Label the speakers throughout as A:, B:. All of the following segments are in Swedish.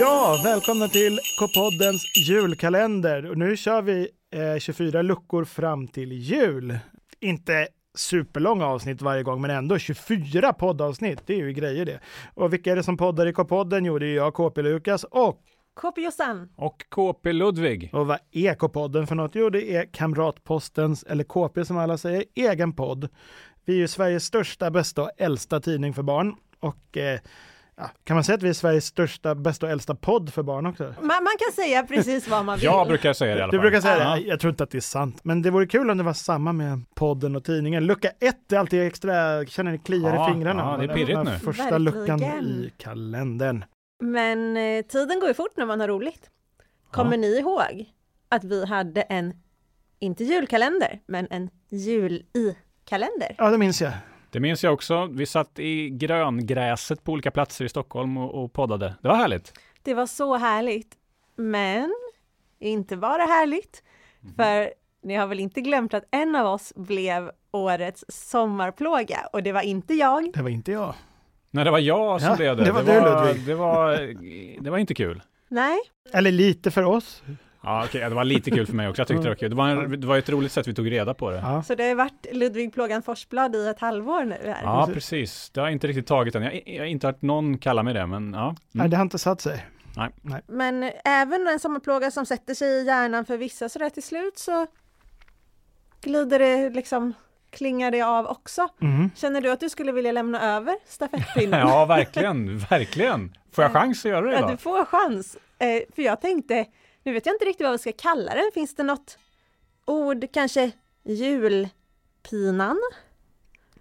A: Ja, välkomna till K-poddens julkalender. Och nu kör vi eh, 24 luckor fram till jul. Inte superlånga avsnitt varje gång, men ändå 24 poddavsnitt. Det är ju grejer det. Och vilka är det som poddar i K-podden? Jo, det är jag, KP Lukas och
B: Kopiosan.
C: Och KP Ludvig.
A: och vad är K-podden för något? Jo, det är Kamratpostens, eller KP som alla säger, egen podd. Vi är ju Sveriges största, bästa och äldsta tidning för barn. Och eh, ja, kan man säga att vi är Sveriges största, bästa och äldsta podd för barn också?
B: Man, man kan säga precis vad man vill.
C: Jag brukar säga det i alla
A: Du
C: fall.
A: brukar säga det? Nej, Jag tror inte att det är sant. Men det vore kul om det var samma med podden och tidningen. Lucka ett är alltid extra, känner ni kliar
C: Ja,
A: i fingrarna?
C: ja, det är
A: Den
C: pirrigt
A: här
C: nu.
A: Första luckan
B: Verkligen.
A: i kalendern.
B: Men eh, tiden går ju fort när man har roligt. Kommer ni ihåg att vi hade en, inte julkalender, men en jul i kalender?
A: Ja, det minns jag.
C: Det minns jag också. Vi satt i gröngräset på olika platser i Stockholm och, och poddade. Det var härligt.
B: Det var så härligt. Men inte bara härligt,
C: Mhm.
B: för ni har väl inte glömt att en av oss blev årets sommarplåga och det var inte jag.
A: Det var inte jag.
C: Nej, det var jag som
A: Ja,
C: blev det.
A: det var
C: det
A: du,
C: var,
A: Ludvig.
C: Det var, det var inte kul.
B: Nej,
A: Eller lite för oss.
C: Ja, okej, det var lite kul för mig också. Jag tyckte det var kul. Det var, en, det var ett roligt sätt vi tog reda på det.
A: Mm. Ja.
B: så det har ju varit Ludvig Plågan Forsblad i ett halvår nu. Här.
C: Ja, precis. Det har jag inte riktigt tagit än. Jag, jag har inte hört någon kalla mig det, men ja.
A: Nej,
C: Mm.
A: det har inte satt sig.
B: Men även en sommarplåga som sätter sig i hjärnan för vissa sådär till slut så glider det liksom, klingar det av också.
A: Mm.
B: Känner du att du skulle vilja lämna över stafettpinnen?
C: Ja, verkligen, verkligen. Får jag chans att göra det
B: Ja, du
C: idag?
B: får chans. Eh, för jag tänkte, nu vet jag inte riktigt vad vi ska kalla den. Finns det något ord, kanske julpinan,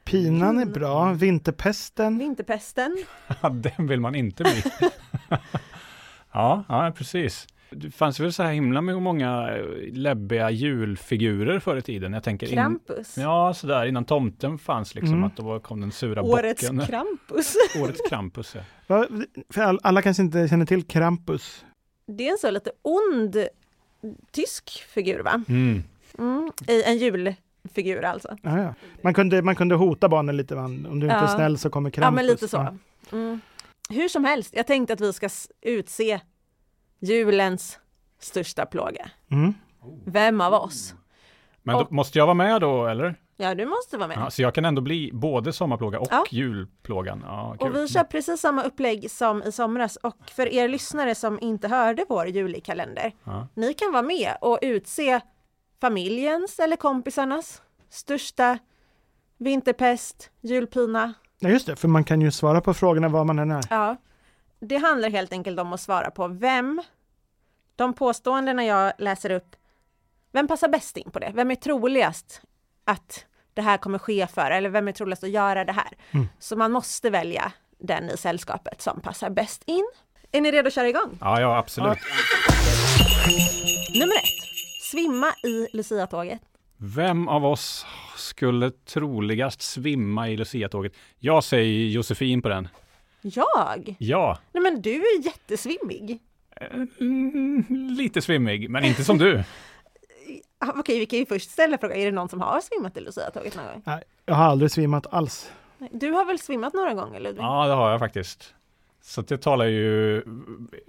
A: Pinan är bra, vinterpesten.
B: vinterpesten?
C: Ja, den vill man inte bli. ja, ja, precis. Det fanns väl så här himla många eh, läbbiga julfigurer förr i tiden. Jag tänker in-
B: Krampus?
C: Ja, sådär innan tomten fanns liksom,
A: Mm.
C: att då var- kom den sura
B: Årets
C: bocken.
B: Krampus?
C: Årets Krampus. ja.
A: Va? För all- alla kanske inte känner till Krampus.
B: Det är en så lite ond tysk figur va?
C: Mm.
B: Mm, I en julfigur alltså.
A: Ja, ja. Man, kunde, man kunde hota barnen lite. Man. Om du inte är
B: Ja.
A: snäll så kommer Krampus.
B: Ja, men lite
A: Ja.
B: så. Mm. Hur som helst, jag tänkte att vi ska s- utse julens största plåga.
A: Mm.
B: Vem av oss?
C: Men då,
B: Och-
C: måste jag vara med då eller?
B: Ja, du måste vara med.
C: Ja, så jag kan ändå bli både sommarplåga och
B: Ja.
C: julplågan. Ja, kul.
B: Och vi kör precis samma upplägg som i somras och för er lyssnare som inte hörde vår julikalender,
C: Ja.
B: ni kan vara med och utse familjens eller kompisarnas största vinterpest, julpina.
A: Ja, just det, för man kan ju svara på frågorna var man än är.
B: Ja. Det handlar helt enkelt om att svara på vem, de påståendena jag läser upp, vem passar bäst in på det? Vem är troligast att det här kommer ske för? Eller vem är troligast att göra det här? Så man måste välja den i sällskapet som passar bäst in. Är ni redo att köra igång?
C: Ja, ja, absolut.
B: Nummer ett, svimma i Lucia-tåget.
C: Vem av oss skulle troligast svimma i Lucia-tåget? Jag säger Josefin på den.
B: Jag?
C: Ja,
B: Nej men du är jättesvimmig.
C: mm, lite svimmig, men inte som du.
B: Ah, Okej, vi kan ju först ställa frågan, är det någon som har svimmat i Lucia-tåget någon gång?
A: Nej, jag har aldrig svimmat alls.
B: Nej, Du har väl svimmat några gånger Ludvig?
C: Ja, det har jag faktiskt. Så att det talar ju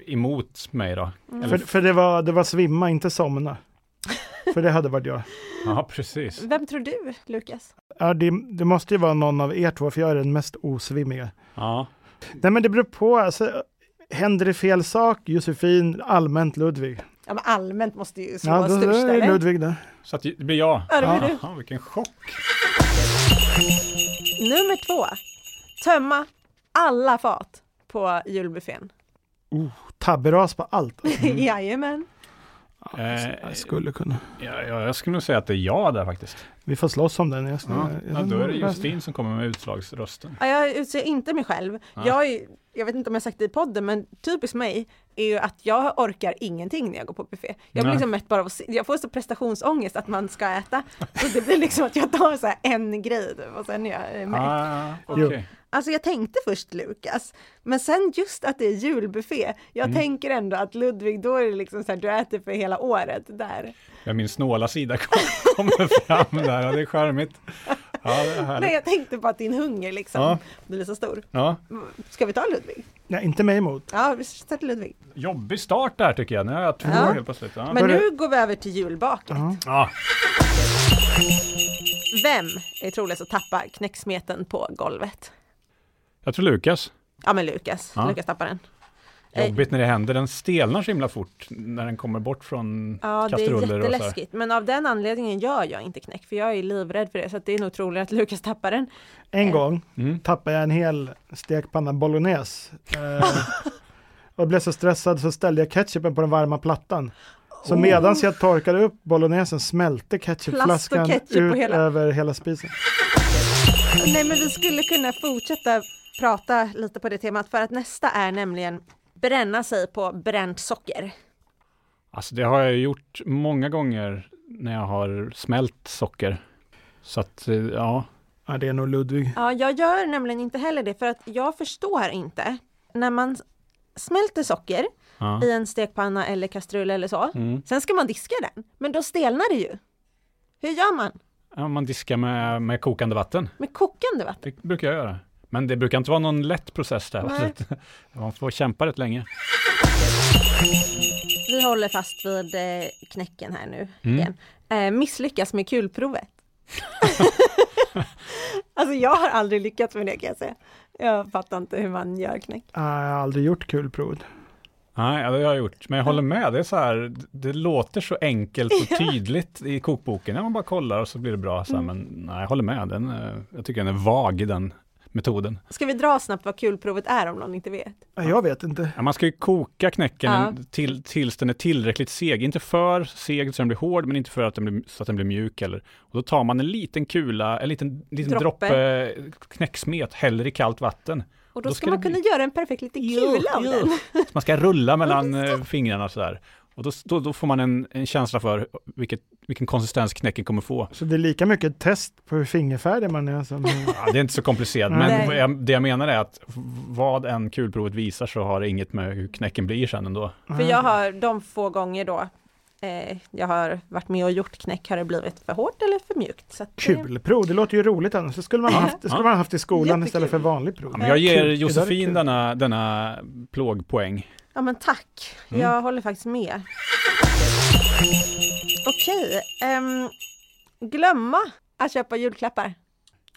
C: emot mig då. Eller-
A: För, för det, var, det var svimma, inte somna. för det hade varit jag.
C: Ja, precis.
B: Vem tror du, Lukas?
A: Ja, det, det måste ju vara någon av er två, för jag är den mest osvimmiga.
C: Ja.
A: Nej, men det beror på. Alltså, händer det fel sak, Josefin, allmänt Ludvig.
B: Ja, men allmänt måste ju slå
A: Ja, då, då
B: störst,
A: är
B: eller?
A: Ludvig där.
C: Så att det blir jag.
B: Ja, det
A: Ja.
B: blir du.
C: Jaha, vilken chock.
B: Nummer två. Tömma alla fat på julbuffén.
A: Tabberas på allt.
B: Jajamän.
C: Eh,
A: Jag skulle kunna.
C: ja, ja, jag skulle nog säga att det är jag där faktiskt.
A: Vi får slåss om den. Jag ska,
C: Ja.
A: jag-
C: Ja, då är det Justin som kommer med utslagsrösten.
B: Ja, jag utser inte mig själv.
C: Nej.
B: Jag, är, jag vet inte om jag sagt det i podden, men typiskt mig är ju att jag orkar ingenting när jag går på buffé. Jag blir
C: Nej.
B: liksom mätt bara av att se- jag får så prestationsångest att man ska äta. Så det blir liksom att jag tar så här en grej typ, och sen är jag eh, mätt.
C: Ah, okej.
A: Jo.
B: Alltså jag tänkte först Lukas, men sen just att det är julbuffé, jag
C: Mm.
B: tänker ändå att Ludvig, då är det liksom så här, du äter för hela året där.
C: Ja, min snåla sida kom- kommer fram där. Ja, det är charmigt. Ja, Ja, det är
B: Nej,
C: härligt.
B: jag tänkte på att din hunger liksom
C: Ja.
B: blir så stor.
C: Ja.
B: Ska vi ta Ludvig?
A: Nej, inte mig emot.
B: Ja, vi sätter Ludvig.
C: Jobbig start där tycker jag. Nu har jag två
B: Ja.
C: helt plötsligt. Ja.
B: Men
A: Börjar-
B: nu går vi över till julbaket.
A: Ja.
C: Ja.
B: Vem är troligast att tappa knäcksmeten på golvet?
C: Jag tror Lukas.
B: Ja, men Lukas.
C: Ja.
B: Lukas tappar den. Eh,
C: Jobbigt när det händer. Den stelnar så himla fort när den kommer bort från
B: Ja, det är
C: kastruller och så här.
B: jätteläskigt. Men av den anledningen gör jag inte knäck, för jag är livrädd för det. Så att det är nog troligare att Lukas tappar den. Eh.
A: En gång
C: Mm.
A: tappade jag en hel stekpanna bolognese. Eh, och blev så stressad så ställde jag ketchupen på den varma plattan. Så
B: Oh.
A: medan jag torkade upp bolognesen smälte ketchupflaskan
B: ketchup
A: ut
B: på hela.
A: över hela spisen.
B: Nej, men vi skulle kunna fortsätta prata lite på det temat, för att nästa är nämligen bränna sig på bränt socker.
C: Alltså det har jag ju gjort många gånger när jag har smält socker. Så att, eh, ja.
A: Ja, det är nog Ludvig.
B: Ja, jag gör nämligen inte heller det, för att jag förstår inte. När man smälter socker
C: ja.
B: i en stekpanna eller kastrull eller så,
C: Mm.
B: sen ska man diska den, men då stelnar det ju. Hur gör man?
C: ja man diskar med, med kokande vatten.
B: Med kokande vatten?
C: Det brukar jag göra. Men det brukar inte vara någon lätt process där.
B: Nej.
C: Så att, man får kämpa rätt länge.
B: Vi håller fast vid eh, knäcken här nu
C: Mm.
B: igen. Eh, misslyckas med kulprovet. alltså jag har aldrig lyckats med det kan jag säga. Jag fattar inte hur man gör knäck.
A: Ah, Jag har aldrig gjort kulprovet.
C: Nej, ja, det har jag gjort. Men jag håller med. Det är så här, det låter så enkelt och tydligt i kokboken. Ja, man bara kollar och så blir det bra. Så här,
B: Mm.
C: Men nej, jag håller med. Den, eh, jag tycker den är vag, den metoden.
B: Ska vi dra snabbt vad kulprovet är om någon inte vet?
A: Ah, Jag vet inte.
C: Ja, man ska ju koka knäcken
B: Ja.
C: till, tills den är tillräckligt seg. Inte för seg så den blir hård, men inte för att den blir, så att den blir mjuk. Eller. Och då tar man en liten kula, en liten, liten
B: Droppe.
C: droppe eh, knäcksmet, häller i kallt vatten.
B: Och då,
C: Då
B: ska,
C: ska
B: man
C: det
B: kunna
C: bli- Mm.
B: göra en perfekt liten kula av den.
C: Så Man ska rulla mellan eh, fingrarna sådär. Och då, då, då får man en, en känsla för vilket, vilken konsistens knäcken kommer få.
A: Så det är lika mycket ett test på hur fingerfärdig man är som...
C: Ja, det är inte så komplicerat,
A: Nej.
C: men vad jag, det jag menar är att vad än kulprovet visar så har det inget med hur knäcken blir sen ändå.
B: För jag har de få gånger då eh, jag har varit med och gjort knäck har det blivit för hårt eller för mjukt. Så att det-
A: Kulprov, det låter ju roligt annars. Det skulle man ha haft, det skulle man ha haft i skolan
B: Jättekul.
A: istället för vanligt prov.
C: Ja, men jag
A: Kul.
C: ger
A: Det där är
C: Josefin
A: kul.
C: denna, denna plågpoäng.
B: Ja men tack, jag håller faktiskt med. Okej, ehm, glömma att köpa julklappar.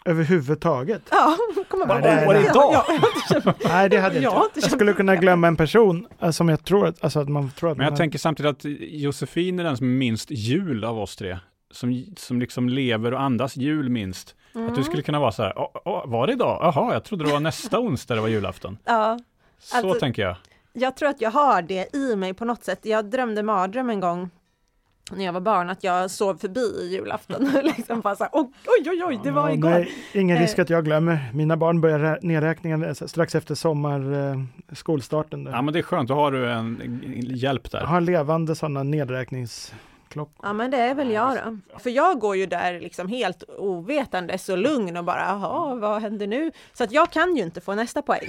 A: Överhuvudtaget.
B: Ja, kommer bara
A: Nej, det-
B: "Oj,
A: det-
B: jag-
C: idag?"
B: jag- jag har inte köpt-
A: Nej, det hade
B: Jag
A: jag
B: har
A: inte.
B: inte
A: Jag skulle kunna glömma en person eh, som jag tror att, alltså att man tror att
C: Men jag
A: man
C: tänker samtidigt att Josefin är den som är minst jul av oss tre. Som, som liksom lever och andas jul minst. Att du skulle kunna vara så här, "Åh, åh, var det idag? Jaha, jag trodde det var nästa onsdag det var julafton.
B: Ja,
C: Så
B: Alltså-
C: tänker jag.
B: jag tror att jag har det i mig på något sätt. Jag drömde mardröm en gång när jag var barn att jag sov förbi julafton. liksom bara så här, "Oj, oj, oj, oj, det var
A: Ja,
B: igår.
A: Nej, ingen risk
B: Eh.
A: att jag glömmer. Mina barn börjar rä- nedräkningen eh, strax efter sommar, eh, skolstarten. Där.
C: Ja, men det är skönt, då har du en, en hjälp
A: Jag
C: där.
A: har levande sådana
B: Mm,
A: nedräkningsklockor.
B: Ja men det är väl jag då. För jag går ju där liksom helt ovetande så lugn och bara jaha vad händer nu? Så att jag kan ju inte få nästa poäng.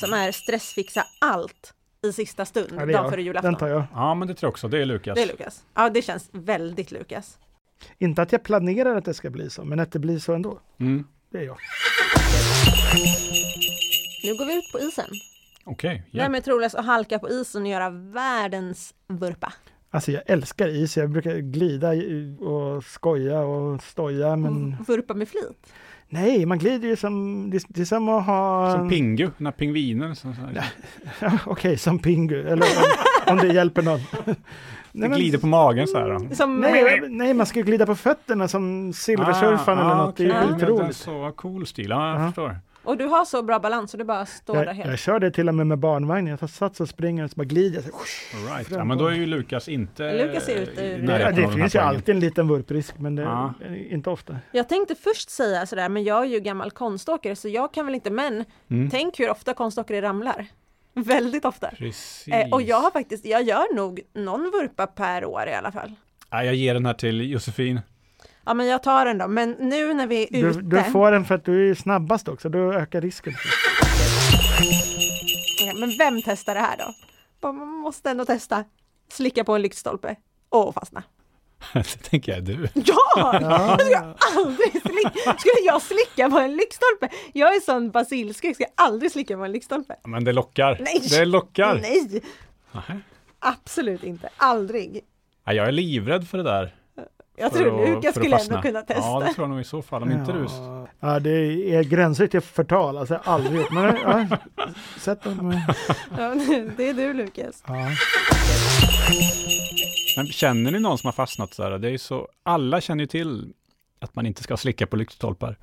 B: Som är stressfixa allt i sista stund,
A: Ja, det
B: dagen
A: är
B: före
A: jag. Den tar
B: julafton.
A: jag.
C: Ja, men det tror jag också. Det är Lukas.
B: Det är Lukas. Ja det känns väldigt Lukas.
A: Inte att jag planerar att det ska bli så, men att det blir så ändå.
C: Mm.
A: Det är jag.
B: Nu går vi ut på isen.
C: Okej, hjälp.
B: Vem är troligast att halka på isen och göra världens vurpa?
A: Alltså jag älskar is, jag brukar glida i- och skoja och stoja, men
B: Vurpa med flit?
A: nej, man glider ju som, det, det är som att ha...
C: Som Pingu, den här pingvinen. Som, som,
A: Ja, Okej, som Pingu, eller om, om det hjälper någon. Nej, men-
C: glider på magen så här. Då.
B: Som,
A: Nej, nej, man ska ju glida på fötterna som silversurfaren eller något. Det är
C: Ah, okej.
A: ju
C: Men den är
A: otroligt.
C: Så cool stil, ja, jag
A: Ja.
C: förstår.
B: Och du har så bra balans så du bara står där
A: Jag,
B: helt.
A: jag kör det till och med med barnvagn. Jag tar sats och springer och så bara glider jag. så-
C: All right. Ja, men då är ju Lukas inte... eh,
B: Lukas är ute ur-
C: i
A: Det,
C: närheten av
A: det
C: den här
A: finns ju
C: poängen.
A: alltid en liten vurprisk, men det,
C: Ja.
A: inte ofta.
B: Jag tänkte först säga sådär, men jag är ju gammal konståkare så jag kan väl inte, men
C: Mm.
B: tänk hur ofta konståkare ramlar. Väldigt ofta.
C: Precis.
B: Eh, och jag har faktiskt, jag gör nog någon vurpa per år i alla fall.
C: ja, jag ger den här till Josefin.
B: Ja men jag tar den då, men nu när vi är
A: Du,
B: ute.
A: du får den för att du är ju snabbast också. Då ökar risken.
B: Okej, Men vem testar det här då? Bara, Man måste ändå testa. Slicka på en lyktstolpe och fastna.
C: det tänker jag är du.
B: Ja!
A: Ja.
B: Jag skulle aldrig slicka. Skulle jag slicka på en lyktstolpe? Jag är sån basilskräck, jag ska aldrig slicka på en lyktstolpe.
C: Men det lockar.
B: Nej.
C: Det lockar.
B: Nej,
C: Nej.
B: absolut inte. Aldrig.
C: Ja, jag är livrädd för det där.
B: Jag
C: för
B: tror
C: att-
B: du,
C: för
B: jag
C: att
B: skulle ändå
C: fastna.
B: kunna testa.
C: Ja, det tror jag nog i så fall. Om inte du...
A: Ja. Ja, det är gränser till förtal, alltså jag har aldrig gjort. Men ja, sätt dem.
B: Ja, det är du Lukas.
A: Ja.
C: Men känner ni någon som har fastnat så här? Det är ju så... Alla känner ju till att man inte ska slicka på lyktstolpar.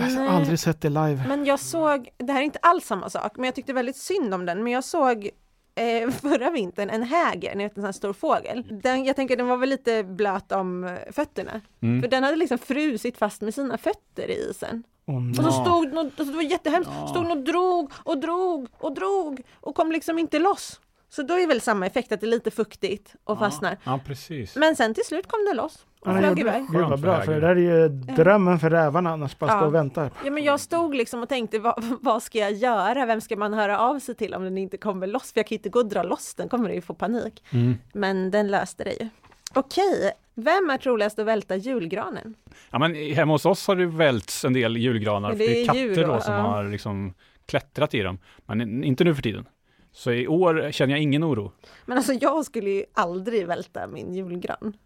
A: Alltså,
B: Nej.
A: aldrig sett det live.
B: Men jag såg, det här är inte alls samma sak, men jag tyckte väldigt synd om den, men jag såg eh, förra vintern en häger, ni vet en sån här stor fågel. Den, jag tänker den var väl lite blöt om eh, fötterna,
C: Mm.
B: för den hade liksom frusit fast med sina fötter i isen.
A: Åh, nej.
B: Och så
C: Ja.
B: stod någon, alltså det var jättehemskt, stod någon och drog och drog och drog och kom liksom inte loss. Så då är väl samma effekt att det är lite fuktigt och fastnar.
C: Ja, precis.
B: Men sen till slut kom det loss och
A: Ja,
B: flög
A: gjorde-
B: iväg.
A: Gud vad
C: Skönt
A: bra,
C: för
A: för det där är
C: ägaren.
A: ju drömmen för rävarna annars bara stå
B: Ja.
A: och vänta.
B: Ja, men jag stod liksom och tänkte vad, vad ska jag göra? Vem ska man höra av sig till om den inte kommer loss? För jag kan ju inte gå och dra loss den, kommer du ju få panik.
C: Mm.
B: Men den löste det ju. Okej, vem är troligast att välta julgranen?
C: Ja, men i- hemma hos oss har det välts en del julgranar.
B: Men
C: för det
B: det är
C: är katter
B: djur då,
C: då, som
B: ja.
C: har liksom klättrat i dem. Men in- inte nu för tiden. Så i år känner jag ingen oro.
B: Men alltså jag skulle ju aldrig välta min julgran.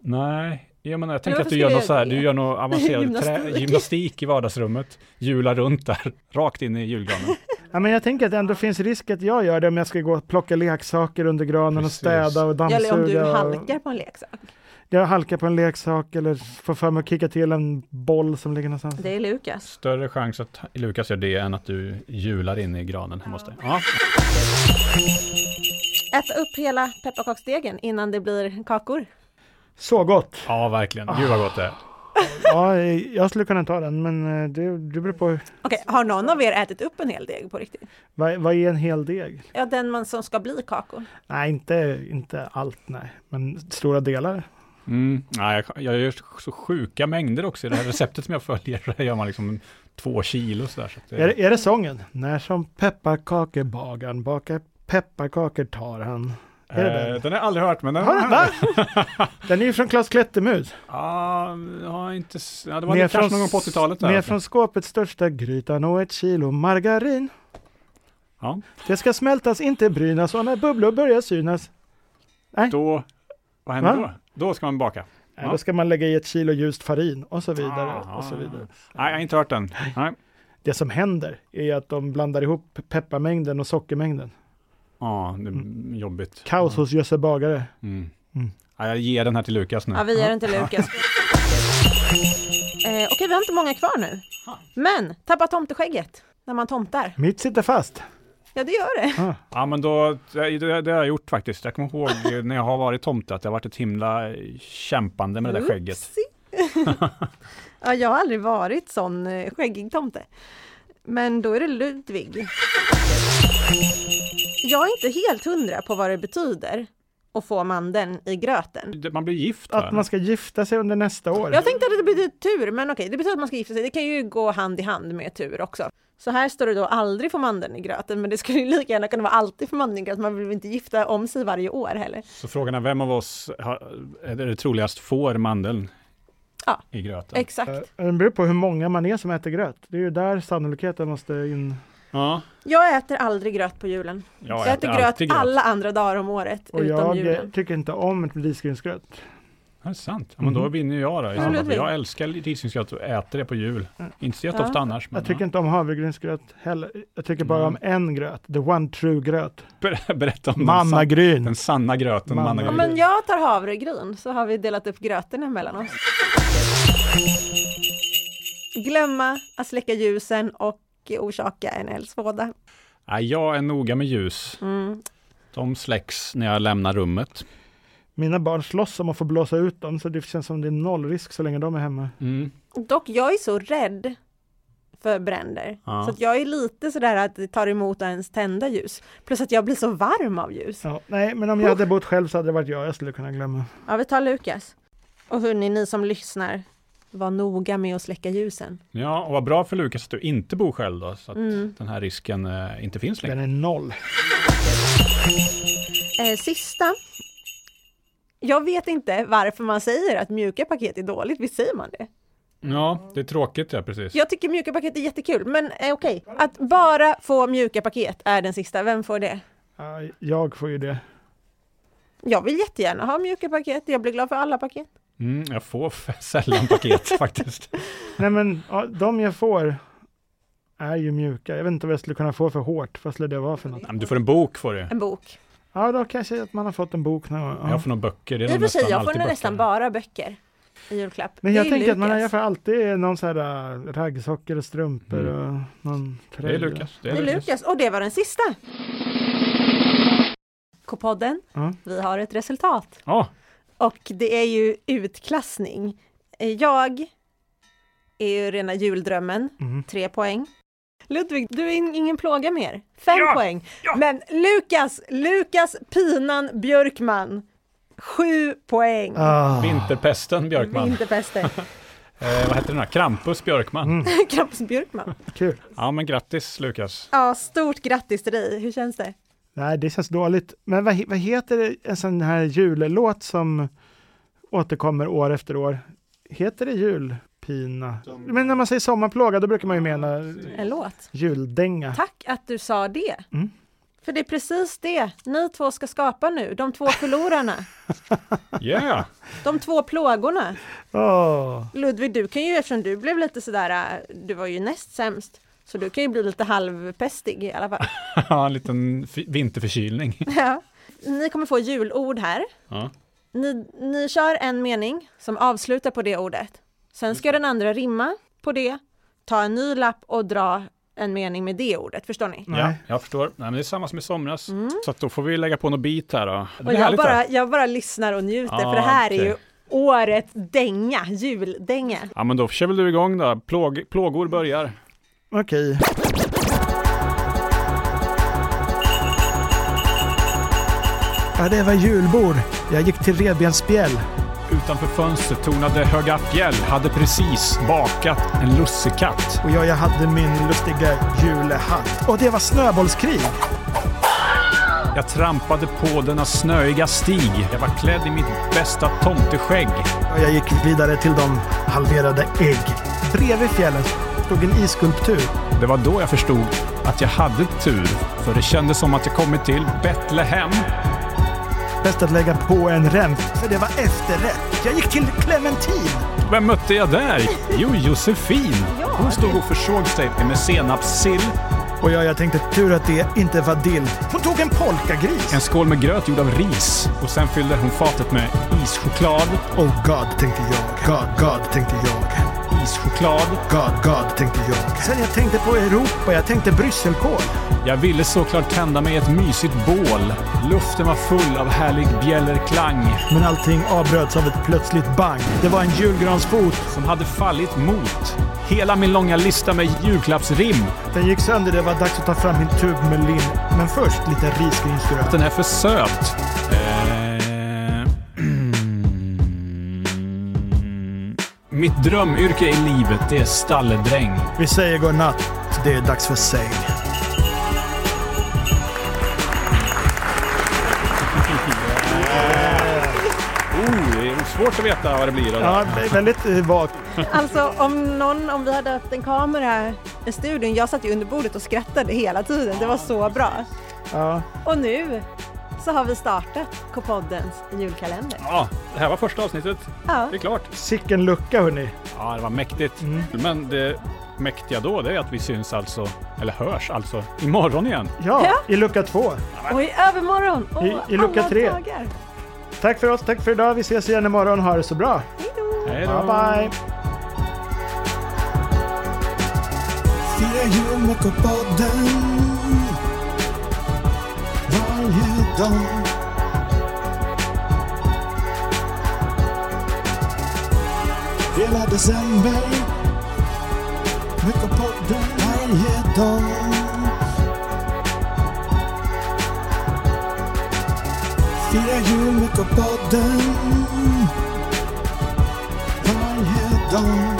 C: Nej, jag menar, jag tänker
B: varför
C: att du gör
B: skulle
C: något så här,
B: jag det?
C: du gör något avancerad gymnastik. Trä,
B: Gymnastik.
C: gymnastik i vardagsrummet, hjular runt där, rakt in i julgranen.
A: Ja, men jag tänker att det ändå finns risk att jag gör det om jag ska gå och plocka leksaker under granen
C: Precis.
A: och städa och dammsuga.
B: Eller om du
A: och-
B: halkar på en leksak.
A: Jag halkar på en leksak eller får för mig att kicka till en boll som ligger någonstans.
B: Det är Lukas.
C: Större chans att Lukas gör det än att du hjular in i granen hemma hos dig. Ja,
B: Äta upp hela pepparkaksdegen innan det blir kakor.
A: Så gott!
C: ja verkligen. Gud vad gott det är.
A: Ja, eh, jag skulle kunna ta den, men eh, det, det beror på
B: Okej, har någon av er ätit upp en hel deg på riktigt?
A: vad, vad är en hel deg?
B: Ja, den man som ska bli kakor.
A: Nej, inte, inte allt, nej, men stora delar.
C: Mm. Nej, jag, jag gör så sjuka mängder också i det här receptet som jag följer. Där gör man liksom två kilo sådär. Så att
A: Är,
C: det,
A: det- är det sången? När som pepparkakebagaren bakar pepparkakor tar han. är det den?
C: eh, den har jag aldrig hört, men den
A: Har du, va? Den är ju från Klas Klättermus.
C: Ja, ja, inte, s- ja, det var kanske någon gång på 80-talet. där. alltså.
A: Ner från skåpets största grytan och ett kilo margarin.
C: Ja.
A: Det ska smältas, inte brynas och när bubblor börjar synas,
C: Då, vad händer
A: Va?
C: då? Då ska man baka.
A: ja.
C: Ja.
A: då ska man lägga i ett kilo ljust farin och så vidare.
C: Ah,
A: och så
C: ah.
A: vidare.
C: Nej, jag har inte hört den. Nej.
A: Det som händer är att de blandar ihop pepparmängden och sockermängden.
C: Ja, det är jobbigt.
A: Kaos hos Jösse Bagare.
C: Mm.
A: Mm.
C: Ja, jag ger den här till Lukas nu.
B: Ja, vi ger den till Lukas. Eh, Okej, vi har inte många kvar nu. Men, tappa tomteskägget när man tomtar.
A: Mitt sitter fast. Ah,
B: Ja, det gör det.
C: Ja, men då, det, det det har jag gjort faktiskt. Jag kommer ihåg när jag har varit tomte att det har varit ett himla kämpande med det där skägget.
B: Upsi. ja, jag har aldrig varit sån eh, skäggig tomte. Men då är det Ludvig. Jag är inte helt hundra på vad det betyder att få mandeln i gröten.
C: Det- Man blir gift
A: Att
C: här.
A: man ska gifta sig under nästa år.
B: Jag tänkte att det betyder tur, men okej, det betyder att man ska gifta sig. Det kan ju gå hand i hand med tur också. Så här står det då aldrig får mandeln i gröten, men det skulle ju lika gärna kunna vara alltid får mandeln i gröten. Man vill väl inte gifta om sig varje år heller.
C: Så frågan är vem av oss har, är det troligast får mandeln
B: Ja.
C: i gröten?
A: Eh,
B: Exakt.
A: Det beror på hur många man är som äter gröt. Det är ju där sannolikheten måste in.
C: Ja.
B: Jag äter aldrig gröt på julen.
C: Ja,
B: Jag äter gröt,
C: alltid
B: alla andra dagar om året,
A: Och
B: utom
A: jag eh,
B: julen.
A: tycker inte om risgrynsgröt.
C: Ja, det är sant. Ja, men då
A: Mhm.
C: vinner ju jag då. i
B: Ja,
C: så fall, för
B: Ludvig.
C: Jag älskar risgrynsgröt och äter det på jul. Inte så
B: Ja.
C: jätteofta annars. Men
A: Jag tycker
C: ja.
A: inte om havregrynsgröt heller. Jag tycker bara om
C: Mm.
A: en gröt, the one true gröt.
C: Ber- Berätta om den, san-
A: Mannagryn.
C: den sanna gröten.
A: Mamma.
B: Ja,
C: Mannagryn.
B: men jag tar havregryn, så har vi delat upp gröten mellan oss. Glömma att släcka ljusen och orsaka en eldsvåda.
C: Nej, jag är noga med ljus.
B: Mm.
C: De släcks när jag lämnar rummet.
A: Mina barn slåss om att få blåsa ut dem, så det känns som det är noll risk så länge de är hemma.
C: Mm.
B: Dock, jag är så rädd för bränder.
C: Ja.
B: Så att jag är lite sådär att det tar emot att ens tända ljus. Plus att jag blir så varm av ljus.
A: Ja, nej, men om jag hade bott själv så hade det varit jag jag skulle kunna glömma.
B: Ja, vi tar Lukas. Och hörni, ni som lyssnar, var noga med att släcka ljusen.
C: Ja, och vad bra för Lukas att du inte bor själv då, så att
B: Mm.
C: den här risken eh, inte finns längre.
A: Den är noll.
B: Eh, sista. Jag vet inte varför man säger att mjuka paket är dåligt, visst säger man det?
C: Ja, det är tråkigt ja, precis.
B: Jag tycker mjuka paket är jättekul, men eh, okej. Att bara få mjuka paket är den sista, vem får det?
A: Ja, jag får ju det.
B: Jag vill jättegärna ha mjuka paket, jag blir glad för alla paket.
C: Mm, jag får f- sällan paket faktiskt.
A: Nej men ja, de jag får är ju mjuka. Jag vet inte vad jag skulle kunna få för hårt. Vad skulle det vara för något?
C: Ja, men Du får en bok får du.
B: En bok.
A: Ja, då kanske att man har fått en bok någon gång. Ja.
C: Jag får några böcker. Det är
B: I och
C: nog
B: för sig,
C: nästan
B: jag får
C: alltid böcker.
B: nästan bara böcker i julklapp.
A: Men
B: Det är
A: jag
B: ju
A: tänker att man
B: Lukas.
A: har för alltid någon så här äh, raggsockor och strumpor
C: Mm.
A: och någon
C: Det är
A: tröja.
C: Lukas. Det
B: Det är Lukas, och det var den sista. K-podden,
A: Ja.
B: vi har ett resultat.
C: Ja,
B: Och det är ju utklassning. Eh, Jag är ju rena juldrömmen,
A: Mm.
B: tre poäng. Ludvig, du är in- ingen plåga mer, fem
C: Ja!
B: poäng.
C: Ja!
B: Men Lukas, Lukas Pinan Björkman, sju poäng.
A: Ah.
C: Vinterpesten Björkman.
B: Vinterpesten,
C: Eh, vad heter den här? Krampus Björkman.
A: Mm,
B: Krampus Björkman.
A: kul.
C: Ja, men grattis Lukas.
B: Ja, stort grattis till dig, hur känns det?
A: Nej, det känns dåligt. Men vad, he- vad heter det, en sån här jullåt som återkommer år efter år? Heter det julpina? Men när man säger sommarplåga, då brukar man ju mena
B: En låt?
A: juldänga.
B: Tack att du sa det.
A: Mm.
B: För det är precis det ni två ska skapa nu, de två förlorarna,
C: Yeah!
B: de två plågorna.
A: Åh.
B: Ludvig, du kan ju, eftersom du blev lite sådär, äh, du var ju näst sämst, så du kan ju bli lite halvpestig i alla fall.
C: Ja, en liten fi- vinterförkylning.
B: Ja. Ni kommer få julord här.
C: Ja.
B: Ni, ni kör en mening som avslutar på det ordet. Sen ska den andra rimma på det, ta en ny lapp och dra en mening med det ordet, förstår ni?
C: Ja,
A: Nej.
C: jag förstår. Nej, men det är samma som i somras. Så att då får vi lägga på något bit här då. Det
B: Mm. Och
C: blir
B: jag,
C: härligt
B: bara,
C: här.
B: jag bara lyssnar och njuter,
C: Ja,
B: för
A: Ah,
B: det här är
C: okej.
B: ju årets dänga, juldänga.
C: Ja, men då kör väl du igång då. Plåg, plågor börjar.
A: Okej. Ja, det var julbord. Jag gick till revbensspjäll.
C: Utanför fönstret tornade Höga fjäll hade precis bakat en lussekatt.
A: Och jag, jag hade min lustiga julehatt. Och det var snöbollskrig.
C: Jag trampade på denna snöiga stig. Jag var klädd i mitt bästa tomteskägg.
A: Och jag gick vidare till de halverade ägg. Bredvid fjällen stod en isskulptur.
C: Det var då jag förstod att jag hade tur. För det kändes som att jag kommit till Betlehem.
A: Bäst att lägga på en räns, för det var efterrätt. Jag gick till clementin.
C: Vem mötte jag där? Jo, Josefin. Hon stod och försåg sig med senapssill.
A: Och jag, jag tänkte tur att det inte var dill. Hon tog en polkagris.
C: En skål med gröt gjord av ris. Och sen fyllde hon fatet med ischoklad.
A: Oh God, tänkte jag. God, God, tänkte jag.
C: Ischoklad.
A: God, God, tänkte jag. Sen jag tänkte på Europa, jag tänkte brysselkål.
C: Jag ville såklart tända mig ett mysigt bål. Luften var full av härlig bjällerklang
A: Men allting avbröts av ett plötsligt bang. Det var en julgransfot.
C: som hade fallit mot hela min långa lista med julklappsrim.
A: Den gick sönder, det var dags att ta fram min tub med lim. Men först lite risgrynsgröt.
C: Den är för söt. Eh, Mitt drömyrke i livet, det är stalledräng.
A: Vi säger godnatt, det är dags för säng.
C: Oh, det är svårt att veta vad det blir. av det.
A: Ja, det är väldigt eh, vagt.
B: Alltså om någon, om vi hade haft en kamera i studion, jag satt ju under bordet och skrattade hela tiden, det var så bra.
A: Ja.
B: Och nu så har vi startat K-poddens julkalender.
C: Ja, det här var första avsnittet.
B: Ja,
C: Det är klart.
A: Sicken lucka hörni.
C: Ja, det var mäktigt.
A: Mm.
C: Men det mäktiga då, det är att vi syns alltså, eller hörs alltså, imorgon igen.
A: Ja,
B: Ja.
A: i lucka två.
B: och i övermorgon och
A: I- i lucka
B: alla
A: tre.
B: dagar.
A: Tack för oss, tack för idag. Vi ses igen imorgon. Ha det så bra.
B: Hej då!
C: Hej
A: Bye
C: då!
A: bye.
D: Fira jul med K-podden varje dag. Hela december med K-podden varje dag. Fira jul med K-podden varje dag.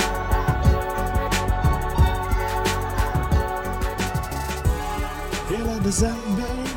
D: Hela december